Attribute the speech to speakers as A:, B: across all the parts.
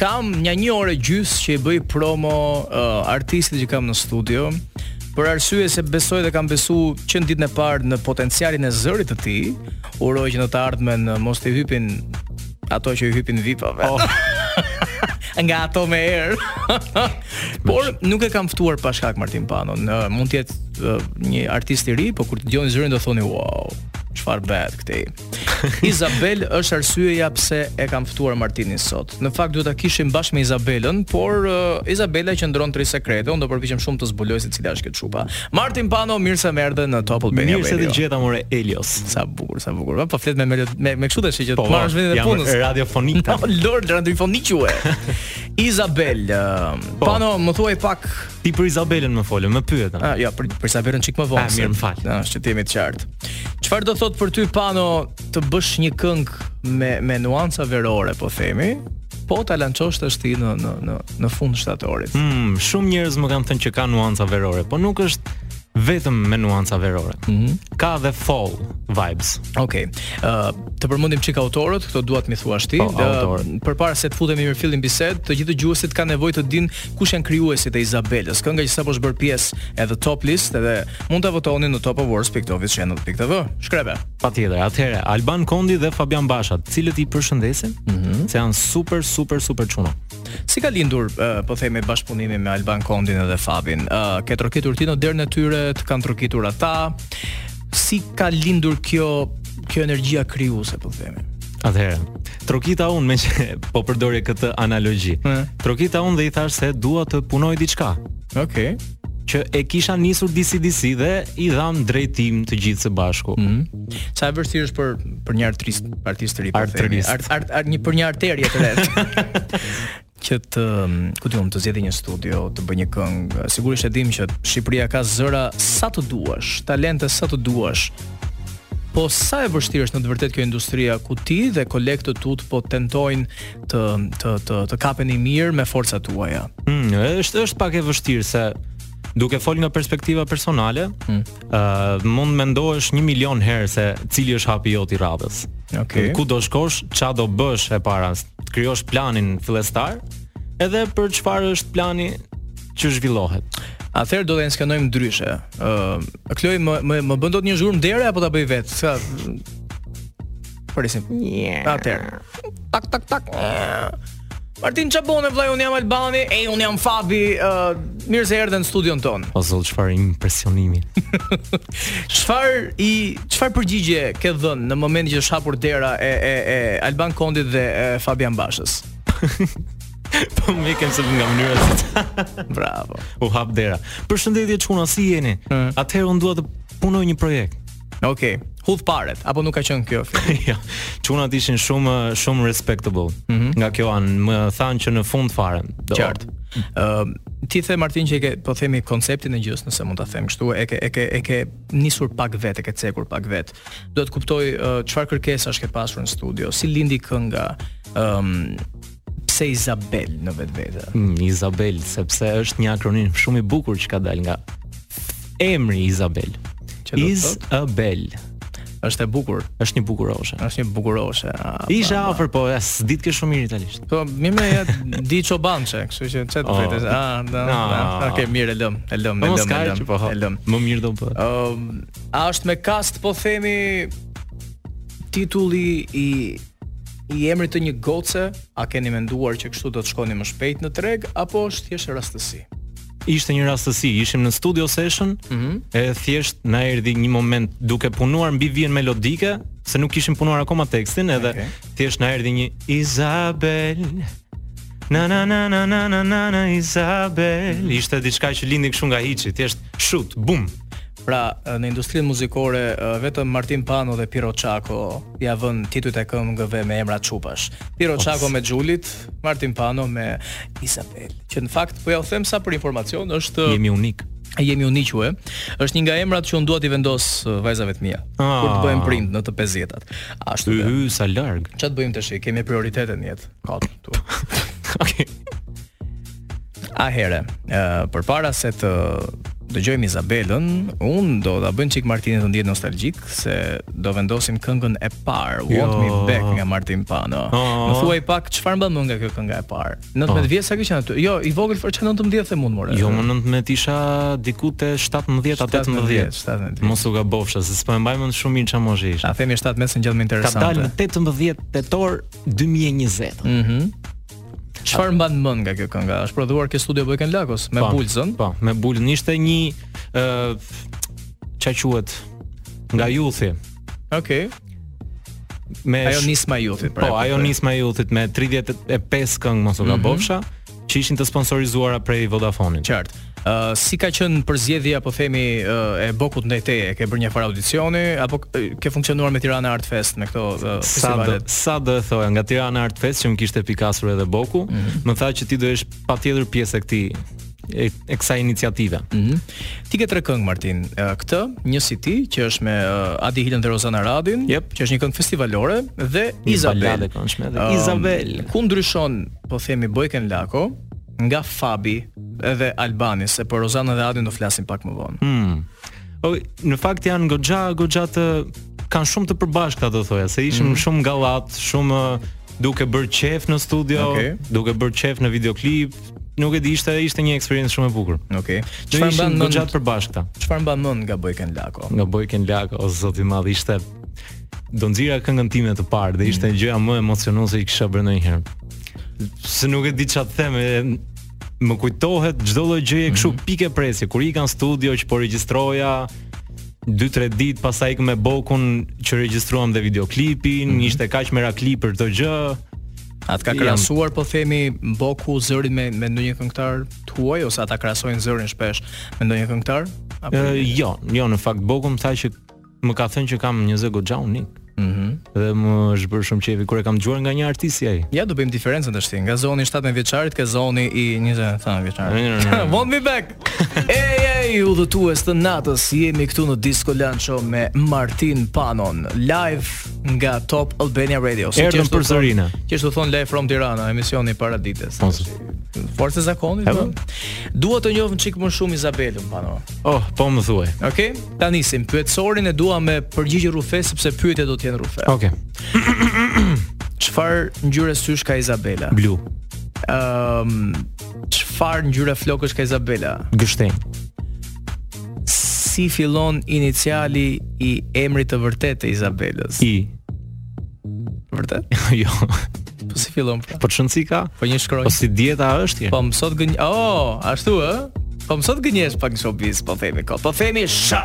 A: kam një një orë gjys që i bëj promo uh, artistit që kam në studio për arsye se besoj dhe kam besu që në ditën e parë në potencialin e zërit të tij. Uroj që në të ardhmen uh, mos të hypin ato që i hypin vipave. nga ato me erë. Por nuk e kam ftuar pa shkak Martin Panon. Uh, mund të jetë uh, një artist i ri, por kur të dëgjoni zërin do thoni wow, çfarë bëhet këtej. Izabel është arsyeja pse e kam ftuar Martinin sot. Në fakt duhet ta kishim bashkë me Izabelën, por uh, Izabela qëndron tri sekrete, unë do përpiqem shumë të zbuloj se cila është këtë çupa. Martin Pano mirë se më erdhe në Top Albania
B: Mirë se të
A: Radio.
B: gjeta more Elios.
A: Sa bukur, sa bukur. Po flet me melod- me me kështu tash që
B: Po,
A: të marrësh vendin e
B: jam
A: punës. No,
B: radiofonik tani.
A: Oh, Lord Randrifonique. Izabel, uh,
B: Po.
A: pano, më thuaj pak,
B: Ti për Izabelën më folën, më pyetën.
A: ah, ja, për për Izabelën çik më vonë.
B: Ah,
A: se-
B: mirë, më fal.
A: Ah, që të jemi të qartë. Çfarë do thot për ty pano të bësh një këngë me me nuanca verore, po themi? Po ta lançosh tash ti në në në në fund shtatorit.
B: Mm, shumë njerëz më kanë thënë që ka nuanca verore, po nuk është vetëm me nuanca verore.
A: Mhm.
B: Ka dhe fall vibes.
A: Okej. Ë, të përmendim çik autorët, këto duat mi thuash ti.
B: Po,
A: Dhe,
B: autorët.
A: Përpara se të futemi në fillim bisedë, të gjithë dëgjuesit kanë nevojë të dinë kush janë krijuesit e Izabelës. Kënga që sapo është bërë pjesë edhe top list edhe mund ta votoni në topawards.oficial.tv. Shkrebe.
B: Patjetër. Atëherë Alban Kondi dhe Fabian Basha, të cilët i përshëndesim,
A: Mhm.
B: se janë super super super çuna.
A: Si ka lindur, ë, po themi bashkëpunimi me Alban Kondin edhe Fabin? Ë, ke trokitur ti në derën e tyre, të kanë trokitur ata. Si ka lindur kjo kjo energjia krijuese, po themi?
B: Atëherë, trokita unë me që po përdorje këtë analogji.
A: Mm.
B: Trokita unë dhe i thash se dua të punoj diçka
A: Okej.
B: që e kisha nisur disi disi dhe i dham drejtim të gjithë së bashku.
A: Sa e vështirë është për për një artist, artist të ri, po
B: Artërist.
A: themi. Art, art, art, një për një arterie të re. që të, mm, ku diun, të zgjidhë një studio, të bëj një këngë. Sigurisht e dim që Shqipëria ka zëra sa të duash, talente sa të duash. Po sa e vështirë është në të vërtetë kjo industria ku ti dhe kolegët tut po tentojnë të të të, të kapeni mirë me forcat tuaja.
B: Mm, është është pak e vështirë se duke fol nga perspektiva personale, ë mund mendohesh 1 milion herë se cili është hapi jot i radhës.
A: Okej.
B: Ku do shkosh, ç'a do bësh e para, të krijosh planin fillestar, edhe për çfarë është plani që zhvillohet.
A: Atëherë do të skenojmë ndryshe. Ë, uh, Kloj më më, më bën dot një zhurmë dere apo ta bëj vet? Sa Presim. Yeah. Atëherë. Tak tak tak. Martin Çabone vllai un jam Albani, e un jam Fabi, uh, mirë se erdhe në studion ton.
B: O zot, çfarë impresionimi.
A: Çfar i çfarë përgjigje ke dhënë në momentin që është hapur dera e e e Alban Kondit dhe e Fabian Bashës?
B: po më kem se nga mënyra se
A: Bravo.
B: u hap dera. Përshëndetje çuna, si jeni? Atëherë unë dua të punoj një projekt.
A: Okej. Hudh paret apo nuk ka qenë kjo? fjalë?
B: ja, çunat ishin shumë shumë respectable. Nga kjo anë më thanë që në fund fare. Do.
A: Mhm. Qartë. Ëm ti the Martin që e ke po themi konceptin e gjës, nëse mund ta them kështu, e ke e ke e ke nisur pak vet, e ke cekur pak vet. Do të kuptoj ë, çfarë kërkesash ke pasur në studio, si lindi kënga, ëm pse Izabel në vetvete.
B: Mm, Izabel, sepse është një akronim shumë i bukur që ka dalë nga emri Izabel.
A: Që do të
B: Izabel
A: Është e bukur,
B: është një bukuroshe.
A: është një bukuroshe. a,
B: Isha
A: pa,
B: afër, po as ditë ke shumë mirë italisht.
A: Po mirë më ja di çobançe, kështu që çet
B: Oh.
A: vetes. Ah, da.
B: Ah.
A: Okej, mirë e lëm, e lëm,
B: Po
A: e
B: mos
A: lëm,
B: ka
A: e
B: që
A: lëm.
B: po.
A: E lëm.
B: Më mirë do bëhet.
A: Ëm, Ehm, a është me kast po themi titulli i i emrit të një goce, a keni menduar që kështu do të shkoni më shpejt në treg apo është thjesht rastësi?
B: Ishte një rastësi, ishim në studio session, e thjesht na erdhi një moment duke punuar mbi vijën melodike, se nuk kishim punuar akoma tekstin, edhe
A: Okej.
B: thjesht na erdhi një Isabel. Na na na na na na na na Isabel. Ishte diçka që lindi kështu nga hiçi, thjesht shut, bum.
A: Pra, në industrinë muzikore ë, vetëm Martin Pano dhe Piro Çako ja vën titujt e këngëve me emra çupash. Piro Çako me Xhulit, Martin Pano me Isabel. Që në fakt po ja u them sa për informacion është
B: Jemi unik.
A: jemi unique, është një nga emrat që unë dua t'i vendos uh, vajzave të mia. Kur të
B: Ah.
A: bëhem prind në të 50-tat. Ashtu
B: Hy
A: që
B: hy, sa larg.
A: ç'a të bëjmë tash? Kemi prioritete në jetë. Ka tu.
B: Okej.
A: A here, ë përpara se uh, të dëgjojmë Izabelën, unë do ta bëjmë çik Martinit të ndihet nostalgjik se do vendosim këngën e parë, Want Me
B: Jo.
A: Back nga Martin Pano.
B: Oh.
A: Më thuaj pak çfarë mban më nga kjo kënga e parë. 19 vjeç sa kishin aty. Jo, i vogël për çfarë 19 the mund more.
B: Jo, më 19 isha diku te 17, 18.
A: 17.
B: Mos u gabofsha, se s'po e mbaj mend shumë mirë çfarë moshë isha.
A: Ta themi 17 se ngjall më
B: Ka
A: interesante.
B: dalë në 18 tetor 2020.
A: Çfarë mban mend nga kjo kënga? Është prodhuar ke studio Boykan Lagos me
B: Po,
A: Bulzën.
B: Po, me Bulzën ishte një ë ç'a quhet nga
A: Mm.
B: Juthi.
A: Okej.
B: Me
A: Ajo
B: sh-
A: nisma e jutit. pra,
B: Po, ajo
A: kuptoj.
B: nisma e Juthit me 35 këngë mos u
A: Mhm.
B: gabofsha, që ishin të sponsorizuara prej Vodafonit.
A: Qartë. Uh, si ka qenë përzjedhja po themi uh, e Bokut ndaj teje? Ke bërë një farë audicioni apo k- ke funksionuar me Tirana Art Fest me këto uh,
B: Sa do,
A: festivalet?
B: sa do e thoja nga Tirana Art Fest që më kishte pikasur edhe Boku,
A: Mhm.
B: më tha që ti do jesh patjetër pjesë e këtij e, e kësaj iniciative.
A: Mhm. Ti ke tre këngë Martin. Uh, këtë, një si ti, që është me uh, Adi Hilën dhe Rozana Radin,
B: Jep.
A: që është një këngë festivalore dhe
B: Një
A: Izabel.
B: balade këndshme dhe
A: Um,
B: Izabel.
A: Ku ndryshon, po themi Bojken Lako nga Fabi edhe Albani, se për Rozana dhe Adin do flasim pak më vonë.
B: Hmm. O, në fakt janë goxha goxha të kanë shumë të përbashkëta do thoja, se ishim
A: Mhm.
B: shumë gallat, shumë ë, duke bërë qef në studio,
A: Okej.
B: duke bërë qef në videoklip, nuk e di, ishte ishte një eksperiencë shumë e bukur.
A: Okej.
B: Ne
A: Çfarë mban
B: ishim
A: mend?
B: goxha të përbashkëta.
A: Çfarë mban mend nga Bojken Lako?
B: nga Boyken Lako, o zoti i madh, ishte do nxjera këngën time të parë dhe ishte gjëja më emocionuese që kisha bërë ndonjëherë. Se nuk e di ç'a të them, e- më kujtohet çdo lloj gjëje kështu pikë presje kur i kanë studio që po regjistroja 2-3 ditë pastaj ikëm me Bokun që regjistruam dhe videoklipin, ishte kaq merakli për këtë gjë.
A: Atë ka
B: Jam-
A: krahasuar po themi Boku zërin me me ndonjë këngëtar tuaj ose ata krahasojnë zërin shpesh me ndonjë këngëtar? Apo
B: Ë, jo, jo, në fakt Boku më tha që më ka thënë që kam një zë goxha unik
A: Mhm.
B: dhe më është bërë shumë qefi kur e kam dëgjuar nga një artist si ai.
A: Ja do bëjmë diferencën tash ti. Nga zoni 17 vjeçarit ke zoni i 27 vjeçarit. Want me back. Ej, ej, udhëtues të natës, jemi këtu në Disco Lancho me Martin Panon, live nga Top Albania Radio. Se
B: Erdhëm
A: qeshtu thon-
B: përsëri ne.
A: Qeshtu thon live from Tirana, emisioni i para ditës.
B: Mos-
A: Forcë e zakonit.
B: Po. Evo.
A: po. Dua të njohim çik më shumë Izabelën Panon.
B: Oh, po më thuaj.
A: Okej, ta nisim. Pyetësorin e dua me përgjigje rrufe sepse pyetjet do të jenë rrufe.
B: Okej.
A: Çfarë ngjyre sysh ka Izabela?
B: Blu,
A: Ëm, Ehm, çfarë ngjyre flokësh ka Izabela?
B: gështenj.
A: Si fillon iniciali i emrit të vërtet të Izabelës?
B: I.
A: Vërtet?
B: jo.
A: Po si fillon pra?
B: Po çënci ka?
A: Po një
B: Po
A: shkronjë.
B: si dieta është? Po.
A: Po mësot gënj... Oh, ashtu ë? Po mësot gënjesh pak në showbiz, po themi kot. Po themi sh.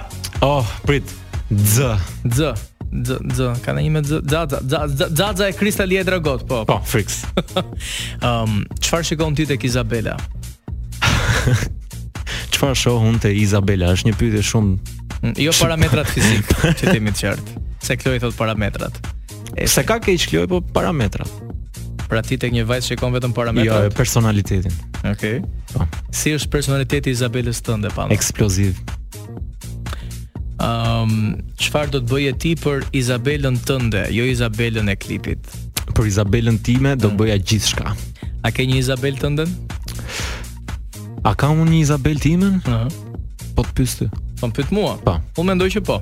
B: Oh, prit. Z.
A: Z. Z, z, ka në një me z, zaza, zaza, zaza e kristali e dragot, po.
B: Po, friks.
A: Um, qëfar shikon ti tek Izabela?
B: Çfarë shoh unë te Izabela? Është një pyetje shumë
A: Mm, Jo parametrat fizik, që t'jemi të qartë. Se Kloi thot parametrat. E,
B: se ka keq kloj, po parametrat.
A: pra ti tek një vajzë shikon vetëm
B: Jo, e
A: parametrat.
B: personalitetin.
A: Okej.
B: Po.
A: Si është personaliteti i Izabelës tënde pa? Ëm,
B: Eksploziv.
A: çfarë do të bëje ti për Izabelën tënde, jo Izabelën e klipit?
B: Për Izabelën time do bëja gjithçka.
A: A ke një Izabel tënden?
B: A ka unë një Izabel timen?
A: Ëh.
B: Po të pyes ty.
A: Po më pyet mua.
B: Po.
A: Unë mendoj që po.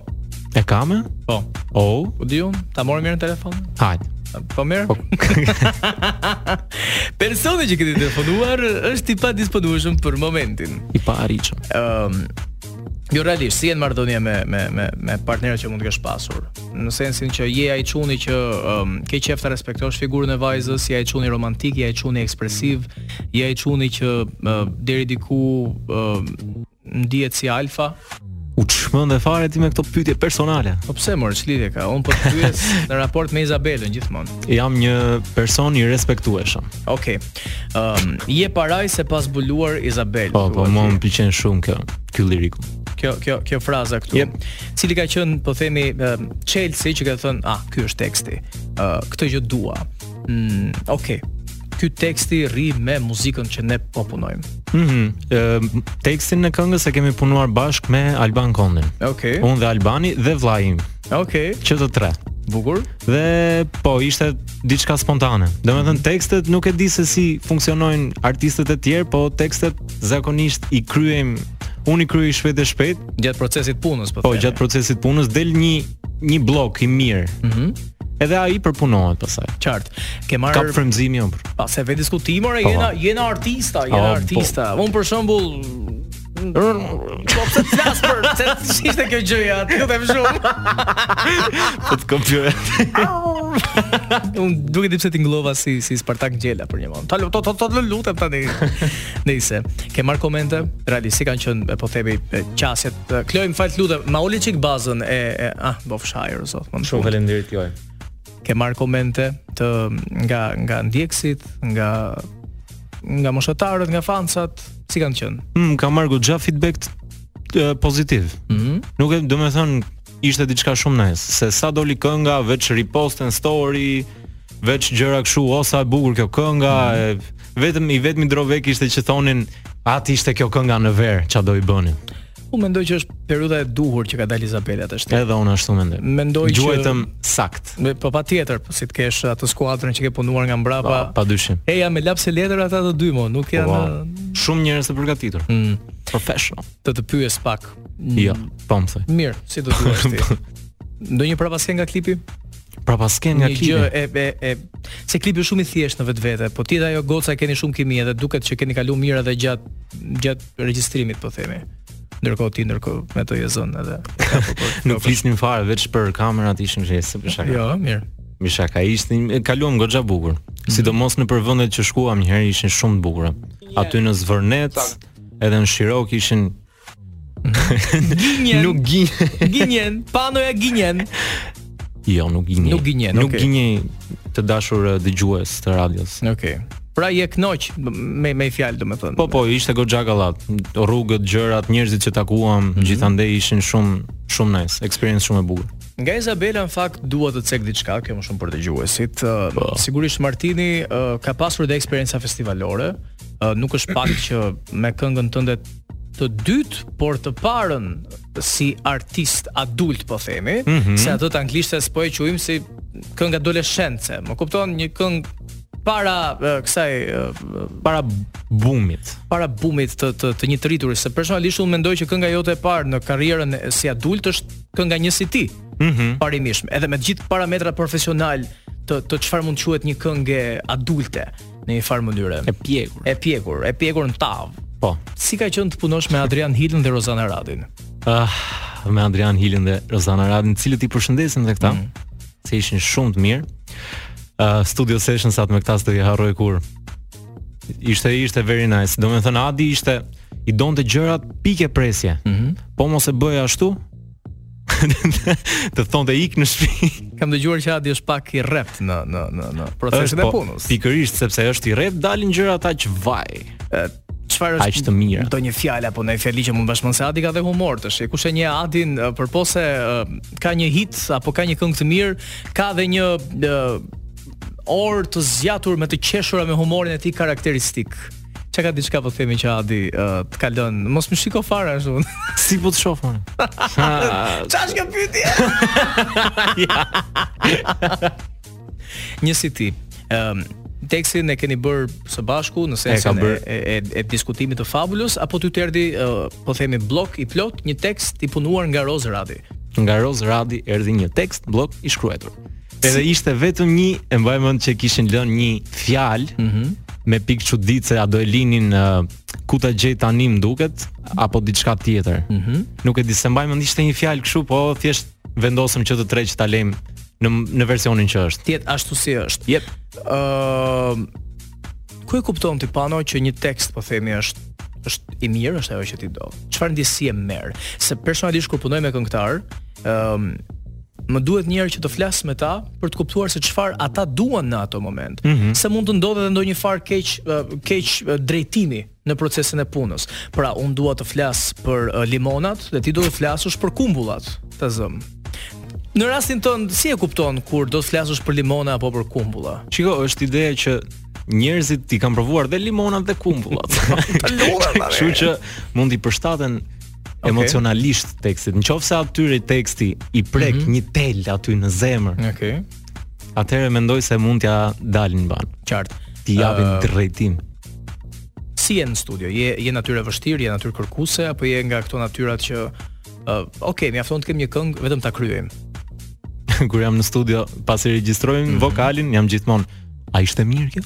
B: E ka me?
A: Po.
B: Oh,
A: Po di unë, ta morëm mirë në telefon.
B: hajde.
A: Po mirë.
B: Po.
A: Personi që këtë telefonuar është i pa disponueshëm për momentin.
B: I pa arritshëm.
A: Ëm Jo realisht, si jenë marrëdhënia me me me me partnerët që mund të kesh pasur. Në sensin që je ai çuni që um, ke qejf ta respektosh figurën e vajzës, je ai çuni romantik, je ai çuni ekspresiv, je ai çuni që uh, deri diku uh, ndihet si alfa.
B: U çmend e fare ti me këto pyetje personale.
A: Po pse mor, ç'lidhje ka? Un po të pyes në raport me Izabelën gjithmonë.
B: Jam një person i respektueshëm.
A: Okej. Ëm je paraj se pas zbuluar Izabel.
B: Po, po,
A: thua
B: mua
A: ti.
B: më pëlqen shumë kjo, ky liriku.
A: kjo kjo kjo fraza këtu.
B: Jep.
A: Cili ka qenë, po themi, um, Chelsea që ka thënë, "Ah, ky është teksti. Uh, këtë gjë dua." Mm, okay. Ky teksti rri me muzikën që ne po punojmë.
B: Mhm. Ë tekstin e këngës e kemi punuar bashkë me Alban Kondin.
A: Okej.
B: Unë dhe Albani dhe vllai im,
A: Okej.
B: që të tre.
A: Bukur.
B: Dhe po, ishte diçka spontane. Domethënë tekstet nuk e di se si funksionojnë artistët e tjerë, po tekstet zakonisht i kryejm unë i kryej shpejt e shpejt,
A: gjatë procesit punës po.
B: po
A: themi.
B: gjatë procesit punës del një një blok i mirë.
A: Mhm.
B: Edhe ai përpunohet pasaj.
A: Qartë. Ke
B: Ka
A: marrë
B: frymëzimi jo, apo?
A: pa se ve diskutim, ora
B: Po.
A: jena jena artista, jena
B: Po,
A: artista. Unë për shembull Po pse të flas për se ishte kjo gjëja, ti të them shumë.
B: Po të kompjuter.
A: Unë duke di pse ti ngllova si si Spartak Ngjela për një moment. Ta lu- to to to lu- lutem tani. Nëse ke marr komente, reali si kanë qenë e, po themi e, qasjet. E, Kloj më fal lutem, ma uli çik bazën e, e ah, bofshajër zot. më në fund.
B: faleminderit juaj.
A: ke marr komente të nga nga ndjekësit, nga nga moshetarët, nga fansat, si kanë qenë?
B: Mm, ka marrë goxha feedback t- e, pozitiv.
A: Mhm.
B: Nuk e, do me thënë, ishte diçka shumë nice, se sa doli kënga, veç repost në story, veç gjëra kështu, o sa e bukur kjo kënga,
A: Mhm.
B: e, vetëm i vetmi drovek ishte që thonin, atë ishte kjo kënga në verë, qa do i bëni.
A: Unë mendoj që është periudha e duhur që ka dalë Izabela tash.
B: Edhe unë ashtu mendoj.
A: Mendoj që-
B: Gjuajtëm sakt,
A: Me- Po patjetër, po si të kesh atë skuadrën që ke punuar nga mbrapa.
B: pa, pa dyshim.
A: Eja me lapse letër ata të dy mo, nuk janë
B: Po, Shumë njerëz të përgatitur.
A: Mm.
B: Professional.
A: të të pyes pak.
B: Jo, po më thoj.
A: Mirë, si do duash ti. Ndonjë prapasje nga klipi?
B: Pra pas ken nga
A: një
B: klipi.
A: gjë e e e se klipi është shumë i thjeshtë në vetvete, po ti dhe ajo goca e keni shumë kimi edhe duket që keni kaluar mirë edhe gjatë gjatë regjistrimit, po themi. Ndërkohë ti ndërkohë me të jezon edhe.
B: Nuk flisnim fare veç për kamerat, ishim shesë për shaka.
A: Jo, mirë.
B: Mi shaka, ishtin, e kaluam goxha bukur. Sidomos në për vendet që shkuam një herë ishin shumë të bukura. Aty në Zvërnet, edhe në Shirok ishin
A: Ginjen,
B: nuk gjinje.
A: ginjen, panoja ginjen.
B: Jo, nuk gjinje.
A: Nuk ginje,
B: Nuk
A: okay.
B: ginje të dashur eh, dëgjues të radios.
A: Okej. Pra je knoq me me fjalë domethënë.
B: Po po, ishte goxha gallat. Rrugët, gjërat, njerëzit që takuam, gjithandej ishin shumë shumë nice, experience shumë e bukur.
A: Nga Izabela në fakt dua të cek diçka, kjo më shumë për dëgjuesit. Uh, sigurisht Martini uh, ka pasur dhe eksperjenca festivalore. Uh, nuk është pak që me këngën tënde të dytë, por të parën si artist adult po themi, se ato të anglishtes po e quajmë si këngë adoleshence. Më kupton një këngë para uh, kësaj uh,
B: Para bumit.
A: para bumit të të, të një të rrituri, se personalisht unë mendoj që kënga jote e parë në karrierën e- si adult është kënga një si ti. Mhm. parimisht, edhe me të gjithë parametrat profesional të të çfarë mund të quhet një këngë adulte në një farë mënyrë.
B: E pjekur.
A: E pjekur, e pjekur në tav.
B: Po.
A: Si ka qenë të punosh me Adrian Hilën dhe Rozana Radin?
B: Ah, me Adrian Hilin dhe Rozana Radin, të cilët i përshëndesim dhe këta, se ishin shumë të mirë. Uh, studio sessions atë me këta s'do i harroj kur. Ishte ishte very nice. Do me thënë Adi ishte i donte gjërat pike presje. Po mos e bëj ashtu. të thonte ik në shtëpi.
A: Kam dëgjuar që Adi është pak i rrept në në në në procesin e
B: po,
A: punës.
B: pikërisht sepse është i rrep dalin gjërat aq vaj.
A: Çfarë
B: Aq të mira.
A: Do një fjalë apo ndonjë fjali që mund bashkëmon se Adi ka dhe humor tash. Kush e njeh Adin ë, përpose ë, ka një hit apo ka një këngë të mirë, ka dhe një ë, orë të zgjatur me të qeshura me humorin e tij karakteristik. Çka ka diçka po themi që Adi ë, të ka lënë. Mos më shiko fare ashtu.
B: Si po të shoh more? Ah,
A: Çfarë është kjo pyetje? Një si ti. Ëm tekstin e keni bër së bashku në sensin e,
B: bër-
A: e, e, e diskutimit të fabulous apo ty të erdhi ë, po themi blok i plot një tekst i punuar nga Roz Radi.
B: nga Roz Radi erdhi një tekst blok i shkruar. Edhe ishte vetëm një, e mbaj mend që kishin lënë një fjalë me pikë çuditë se a do e linin uh, ku ta gjej tani më duket apo diçka tjetër. Nuk e di se mbaj mend ishte një fjalë kështu, po thjesht vendosëm që të treq ta lejmë në në versionin që është.
A: Tjet ashtu si është.
B: Jep.
A: Ë ku e kupton ti pano që një tekst po themi është është i mirë, është ajo që ti do. Çfarë ndjesie merr? Se personalisht kur punoj me këngëtar, ëm më duhet një herë që të flas me ta për të kuptuar se çfarë ata duan në ato moment. Se mund të ndodhet edhe ndonjë farë keq ë, keq ë, drejtimi në procesin e punës. Pra, unë dua të flas për ë, limonat dhe ti do të flasësh për kumbullat të zëm. Në rastin tënd, si e kupton kur do të flasësh për limona apo për kumbulla?
B: Shiko, është ideja që njerëzit i kanë provuar dhe limonat dhe kumbullat. Kështu që mund i përshtaten emocionalisht tekstit. Nëse atyre teksti i prek
A: Mhm.
B: një tel aty në zemër,
A: Okej.
B: atëherë mendoj se mund t'ja dalin ban.
A: Qartë.
B: Ti japin
A: Ë,
B: drejtim.
A: si je në studio? Je je natyrë e vështirë, je natyrë kërkuese apo je nga këto natyrat që uh, ok, mjafton të kem një këngë, vetëm ta kryejm.
B: kur jam në studio, pasi regjistrojmë
A: Mhm.
B: vokalin, jam gjithmonë A ishte mirë kjo?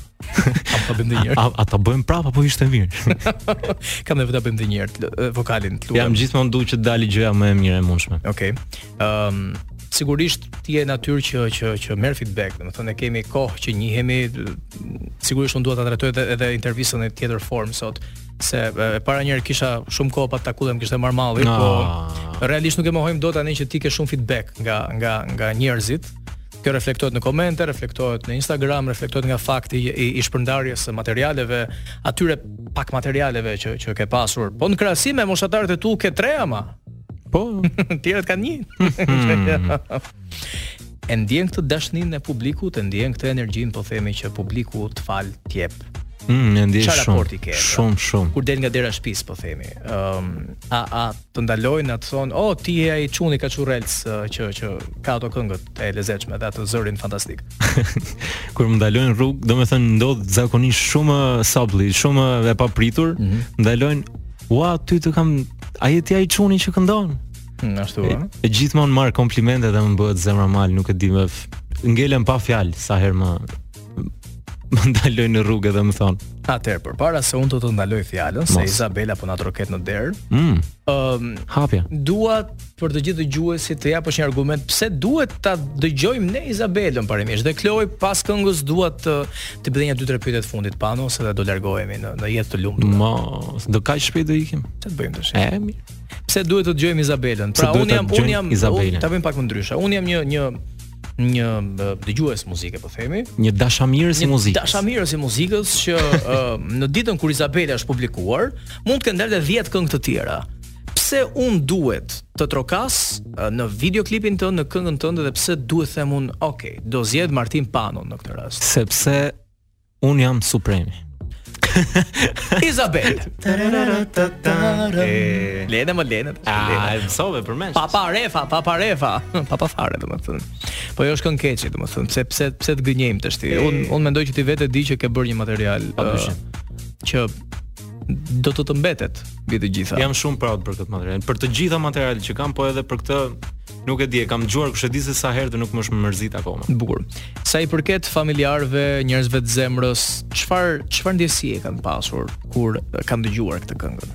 A: Apo bëjmë ndonjë
B: A, a ta bëjmë prapë apo ishte mirë?
A: herë. Kam nevojë ta bëjmë ndonjë herë të- eh, vokalin, të
B: jam
A: lutem.
B: gjithmonë duhet që të dali gjëja më e mirë e mundshme.
A: Okej. Ëm sigurisht ti je natyrë që që që merr feedback, domethënë ne kemi kohë që njihemi, d- sigurisht unë dua ta trajtoj edhe, edhe intervistën në tjetër formë sot se e e para njëherë kisha shumë kohë pa të takullem, kishte marr malli, po
B: Ah.
A: realisht nuk e mohojmë dot tani që ti ke shumë feedback nga nga nga njerëzit. Kjo reflektohet në komente, reflektohet në Instagram, reflektohet nga fakti i, i shpërndarjes së materialeve, atyre pak materialeve që që ke pasur. Po në krahasim me moshatarët e tu ke tre ama,
B: Po,
A: Tjerët kanë një. e ndjen këtë dashninë e publikut, e ndjen këtë energjinë, po themi që publiku të fal të jep.
B: mm, e ndjej
A: Çfarë raporti
B: shumë.
A: ke?
B: Shumë shumë.
A: Kur del nga dera e shtëpisë, po themi. Ëm a a të ndalojnë atë thonë, "Oh, ti je ai çuni kaçurrelc ë, që që ka ato këngët e lezetshme dhe atë zërin fantastik."
B: kur më ndalojnë rrugë, domethënë ndodh zakonisht shumë ë, sabli, shumë ë, e papritur, ndalojnë, "Ua, ty të kam, a je ti ai çuni që këndon?"
A: Hmm, Ashtu
B: E,
A: ë.
B: e gjithmonë marr komplimente dhe më bëhet zemra mal, nuk e di më f- ngelen pa fjalë sa herë më më ndalojnë në rrugë dhe më thon.
A: Atëherë, përpara se unë të të ndaloj fjalën, se
B: Mos.
A: Izabela po na troket në derë,
B: Mm,
A: ëm
B: hapja.
A: dua për të gjithë dëgjuesit të japësh një argument pse duhet ta dëgjojmë ne Izabelën parimisht dhe Kloj pas këngës dua të të bëj një dy tre pyetje të fundit pa ano se do largohemi në në jetë të lumtur.
B: Mos, do kaq shpejt do ikim.
A: Çfarë të bëjmë tash?
B: E mirë.
A: Pse duhet të dëgjojmë Izabelën?
B: Pse
A: Pra
B: duhet
A: unë
B: ta
A: jam unë
B: dëgjojmë
A: jam
B: Izabelën?
A: unë- ta bëjmë pak më ndryshe. Unë jam një një një eh, dëgjues muzike po themi,
B: Një dashamirë si muzikë.
A: dashamirës i muzikës që uh, në ditën kur Izabela është publikuar, mund të kenë dalë 10 këngë të tjera. Pse un duhet të trokas uh, në videoklipin tënd, në këngën tënde dhe pse duhet them un, ok, do zgjedh Martin Panon në këtë rast.
B: sepse un jam supremi.
A: Izabel. E, Lene më lene.
B: A,
A: lene.
B: e mësove përmesh.
A: Papa refa, papa refa, papa fare domethënë. Po jo është këngë keqe domethënë, pse pse pse të gënjejmë tash ti. Un un mendoj që ti vetë di që ke bërë një material
B: Patyshim.
A: ë, që do të të mbetet mbi të gjitha.
B: Jam shumë proud për këtë material, për të gjitha materialet që kam, po edhe për këtë nuk e di, e kam dëgjuar kush e di se sa herë dhe nuk më është mërzit akoma.
A: Bukur. Sa i përket familjarëve, njerëzve të zemrës, çfar çfarë ndjesi e kanë pasur kur e, kanë dëgjuar këtë këngën?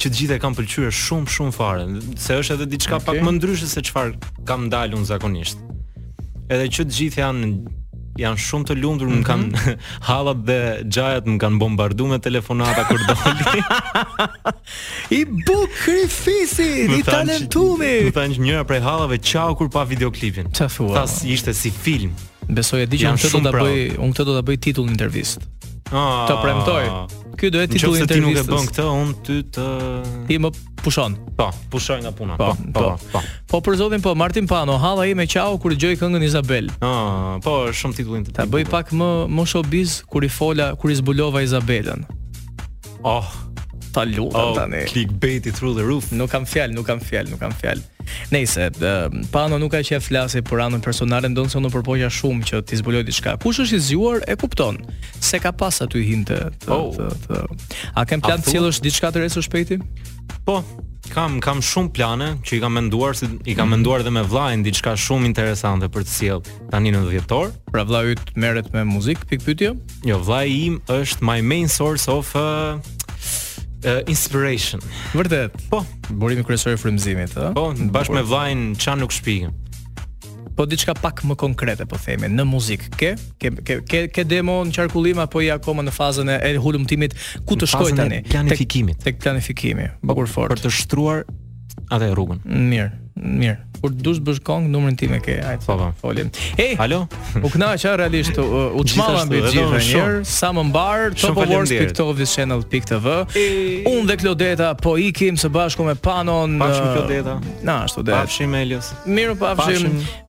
B: Që të gjitha e kam pëlqyer shumë shumë fare, se është edhe diçka
A: Okej.
B: pak më ndryshe se çfarë kam dalë unë zakonisht. Edhe që të gjithë janë janë shumë të lumtur,
A: Mhm.
B: më kanë hallat dhe xhajat më kanë bombarduar me telefonata kur doli.
A: I bukur fisi,
B: Më thanë që- Më thanë që njëra prej hallave çau kur pa videoklipin.
A: Çfarë thua?
B: Tha si ishte si film.
A: Besoj e di që
B: Jam
A: unë këtë do
B: shumë
A: ta
B: proud.
A: bëj, unë këtë do ta bëj titull në intervistë.
B: Ah.
A: Ta premtoj. Ky do jetë titulli i
B: Nëse ti nuk e
A: intervistës.
B: bën këtë, unë ty të
A: Ti më pushon.
B: Po, pushoj nga puna.
A: Po,
B: Po, po, po.
A: Po për zotin po Martin Pano, halla ime qau kur dëgjoj këngën Izabel.
B: Ah, po, është shumë titullin të
A: Ta bëj pak më më showbiz kur i fola kur i zbulova Izabelën.
B: Oh,
A: Ta lutem
B: oh,
A: tani.
B: clickbait through the roof.
A: Nuk kam fjalë, nuk kam fjalë, nuk kam fjalë. Nëse ehm, Pano nuk ka qejf flasi për anën personale, ndonse unë përpoqja shumë që ti zbuloj diçka. Kush është i zgjuar e kupton se ka pas aty hinte. Të,
B: Oh.
A: të, të. A kem plan
B: A
A: të
B: thua?
A: sjellësh diçka të re së shpejti?
B: Po, kam kam shumë plane që i kam menduar, si i kam menduar edhe me vllajin diçka shumë interesante për të sjell tani në dhjetor.
A: Pra vlla yt merret me muzikë, pikë pyetje?
B: Jo, vllai im është my main source of uh, uh, inspiration.
A: Vërtet.
B: Po,
A: Burimi kryesor i frymëzimit, ë?
B: po, bashkë
A: Bukur.
B: me vllajin çan nuk shpihem.
A: Po diçka pak më konkrete po themi në muzikë. Ke ke ke ke, ke demo në qarkullim apo je akoma në fazën e e hulumtimit ku të
B: Në
A: shkoj
B: fazën e
A: tani? Tek-
B: planifikimit.
A: Tek planifikimi. Bukur
B: Për
A: fort. Mm.
B: të shtruar atë rrugën.
A: Mirë, mirë. Kur dush bësh kong, numrin tim e ke. Hajde.
B: Po, po.
A: Folim. Hey,
B: Alo?
A: U knaqa realisht u, u çmava mbi të
B: Gjithashtu,
A: gjithë
B: edhe unë
A: një herë, sa më mbar
B: Shumë faleminderit.
A: topawards.tovichannel.tv. Unë dhe Klodeta po ikim së bashku me Panon.
B: Bashkë me
A: eh,
B: Klodeta.
A: Na ashtu det.
B: Pafshim Elios.
A: Miru pafshim.
B: Pafshim.